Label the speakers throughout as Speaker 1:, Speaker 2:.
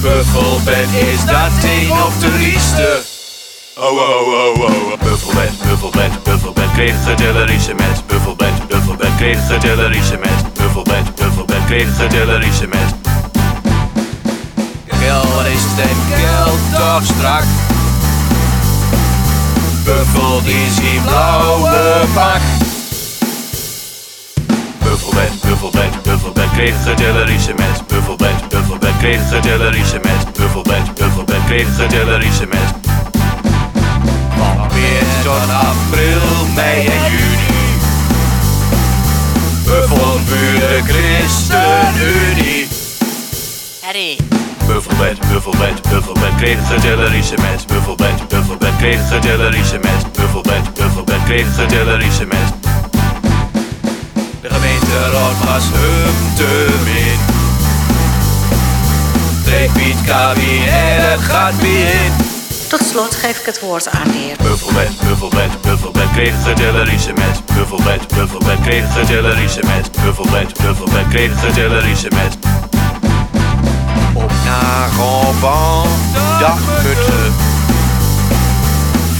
Speaker 1: Buffelbed is dat ding op de rieste. Oh, oh, oh, oh. Buffelbed, Buffelbed, Buffelbed kreeg gedillerische met. Buffelbed, Buffelbed kreeg gedillerische met. Buffelbed, Buffelbed kreeg gedillerische met. Kilrestem, geld toch strak. Buffel is in blauwe pak. Buffelbed, Buffelbed, Buffelbed kreeg gedillerische met. Buffelbed, Buffelbed kreeg gedillerische met. Buffelbed, Buffelbed kreeg gedillerische met. Van weer tot april, mei en juni. Buffelburen ChristenUnie.
Speaker 2: Harry,
Speaker 1: Buffelbed, Buffelbed, Buffelbed kreeg gedillerische met. Buffelbed, Buffelbed kreeg gedillerische met. Buffelbed, Buffelbed kreeg gedillerische met. De gemeenteraad was hem te min. Trek Piet kabinet, het gaat weer in.
Speaker 2: tot slot geef ik het woord aan de heer.
Speaker 1: Buffelbed, Buffelbed, Buffelbed kreeg gedillerische met. Buffelbed, Buffelbed kreeg gedillerische met. Buffelbed, Buffelbed kreeg gedillerische met. Op Nagelban, dagputten.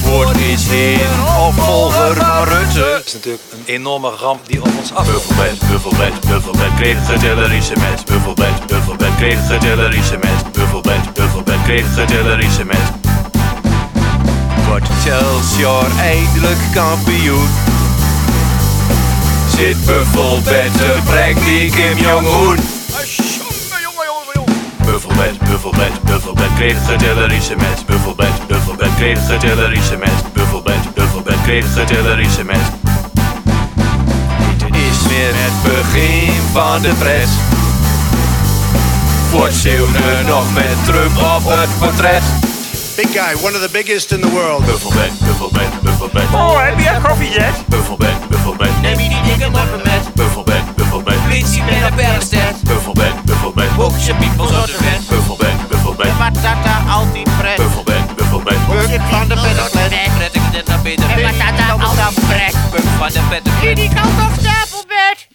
Speaker 1: Voort is heen, opvolger van Rutte.
Speaker 3: is natuurlijk een enorme ramp die op ons af.
Speaker 1: Ah, Buffelbed, Buffelbed, Buffelbed kreeg gedillerische met. Buffelbed, Buffelbed kreeg gedillerische met. Buffelbed, Buffelbed kreeg gedillerische met. Wordt Excelsior eindelijk kampioen? Zit Buffelbed te prank die Kim Jong-un? Buffelbed, Buffelbed, Buffelbed kreeg gedillerische met. Buffelbed, Buffelbed kreeg gedillerische met. Buffelbed, Buffelbed kreeg gedillerische met. Dit is weer het begin van de pret. Wordt Zeeuwne nog met Trump op het portret?
Speaker 4: Big guy, one of the biggest in the world.
Speaker 1: Buffelbed, Buffelbed, Buffelbed.
Speaker 5: Oh, heb je koffie yet?
Speaker 1: Buffelbed, Buffelbed.
Speaker 6: Neem je die dikke moppen met.
Speaker 1: Buffelbed, Buffelbed.
Speaker 6: Politie met een bergstedt.
Speaker 1: Buffelbed, Buffelbed.
Speaker 6: Boekje piep van zotte vet.
Speaker 1: Buffelbed, Buffelbed.
Speaker 6: Patata, altijd pret.
Speaker 1: Buffelbed, Buffelbed.
Speaker 6: Boekje van de beddenplet. Pret ik dit naar beter. Patata, altijd pret. Puk van de beddenplet.
Speaker 7: Die kant op stapelbed.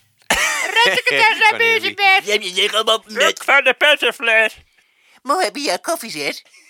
Speaker 7: Red ik het echt naar bezig bed.
Speaker 6: Neem je dikke moppen met.
Speaker 5: Van de pettenflat.
Speaker 2: Mooi, heb je koffie zit?